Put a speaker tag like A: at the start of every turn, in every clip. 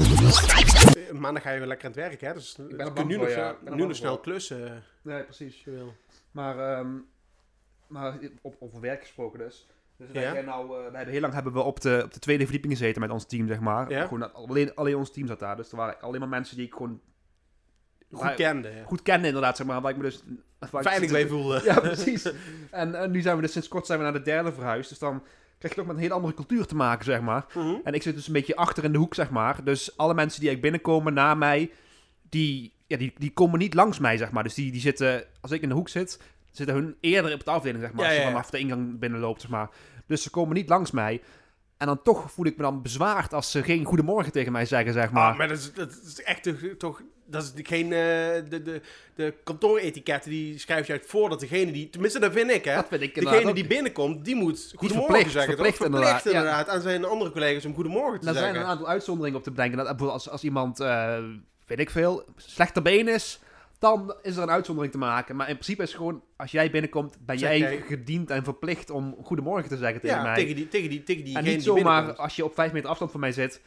A: Eh, Maandag ga je weer lekker aan het werk, hè? Dus ik
B: ben er bang
A: nu
B: voor,
A: nog,
B: ja.
A: snel-
B: Ik ben er
A: nu
B: bang
A: nog snel
B: voor.
A: klussen.
B: Nee, precies.
A: Jawel.
B: Maar, ehm, maar op, over werk gesproken dus. Dus wij
A: Ja.
B: zijn nou, eh, wij hebben heel lang hebben we op de, op de tweede verdieping gezeten met ons team, zeg maar.
A: Ja.
B: Gewoon, dat- alleen, alleen ons team zat daar. Dus er waren alleen maar mensen die ik gewoon
A: Goed
B: Maar-
A: kende. ja.
B: goed kende, inderdaad, zeg maar. Waar ik me dus... waar ik-
A: Veilig bij voelen.
B: Ja, precies. En, eh, nu zijn we dus sinds kort zijn we naar de derde verhuisd. Dus dan krijg je toch met een hele andere cultuur te maken, zeg maar.
A: Mhm.
B: En ik zit dus een beetje achter in de hoek, zeg maar. Dus alle mensen die eigenlijk binnenkomen na mij, die, ja, die, die komen niet langs mij, zeg maar. Dus die, die zitten, als ik in de hoek zit, zitten hun eerder op de afdeling, zeg maar.
A: Ja,
B: als je
A: ja, ja.
B: vanaf de ingang binnenloopt, zeg maar. Dus ze komen niet langs mij. En dan toch voel ik me dan bezwaard als ze geen goedemorgen tegen mij zeggen, zeg maar.
A: Ah, maar dat is, dat is echt toch- toch... Dat is geen... eh, de, de, de kantooretiquette, die schrijft je uit voor dat degene die... Tenminste, dat vind ik, hè?
B: dat vind ik inderdaad
A: Degene
B: ook.
A: die binnenkomt, die moet goedemorgen
B: verplicht,
A: zeggen. toch?
B: verplicht inderdaad, ja.
A: inderdaad aan zijn andere collega's om goedemorgen te
B: Er zijn
A: zeggen.
B: een aantal uitzonderingen op te bedenken. Dat, bijvoorbeeld als, als iemand, eh, weet ik veel, slechter been is, dan is er een uitzondering te maken. Maar in principe is het gewoon, als jij binnenkomt, ben
A: Zeg
B: jij
A: jij-
B: gediend en verplicht om goedemorgen te zeggen tegen
A: ja,
B: mij.
A: tegen die, tegen die, tegen die
B: en niet
A: die
B: zomaar
A: binnenkomt.
B: als je op vijf meter afstand van mij zit,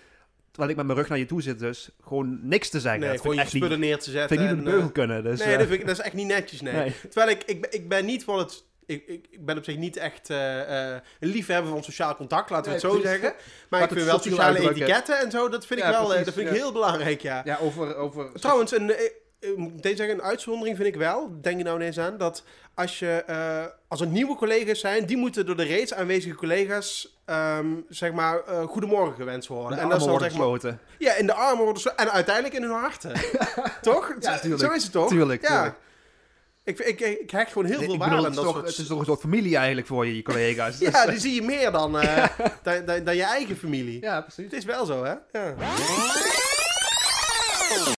B: terwijl ik met mijn rug naar je toe zit, dus gewoon niks te zeggen.
A: Nee,
B: dat
A: gewoon
B: vind
A: je
B: ik echt niet,
A: spullen neer te zetten.
B: vind
A: en,
B: ik niet door de beugel kunnen. Dus,
A: eh, nee,
B: eh,
A: dat, vind ik, dat is echt niet netjes, nee.
B: nee.
A: Terwijl ik, ik, ben- ik ben niet van het... Ik, ik, ik ben op zich niet echt eh, eh, een liefhebber van sociaal contact, laten we
B: Nee,
A: het zo
B: precies.
A: zeggen. Maar
B: Laat
A: ik
B: het
A: vind wel
B: subtiel
A: sociale
B: uitdrukken.
A: etiketten en zo, dat vind ik
B: Ja,
A: wel eh,
B: precies,
A: dat vind ik
B: ja.
A: heel belangrijk, ja.
B: Ja, over... over
A: Trouwens, een, eh, eh, moet ik meteen zeggen, een uitzondering vind ik wel, denk je nou ineens aan, dat als, je, eh, als er nieuwe collega's zijn, die moeten door de reeds aanwezige collega's, ehm, zeg maar, eh, goedemorgen gewenst worden.
B: en dat
A: is
B: is
A: dan,
B: worden
A: zeg maar,
B: gesloten.
A: ja, in de armen worden ze, en uiteindelijk in hun harten. toch?
B: Ja, tuurlijk.
A: Zo is het toch?
B: Tuurlijk,
A: Ja.
B: tuurlijk.
A: Ik, ik, ik, ik hecht gewoon heel veel
B: Ik
A: waarde
B: bedoel,
A: aan
B: het, is
A: dat
B: toch,
A: soort...
B: het is toch een soort familie eigenlijk voor je, je collega's. Dus,
A: Ja, die zie je meer dan, eh, dan, dan, dan je eigen familie.
B: ja, precies.
A: Het is wel zo, hè? Ja.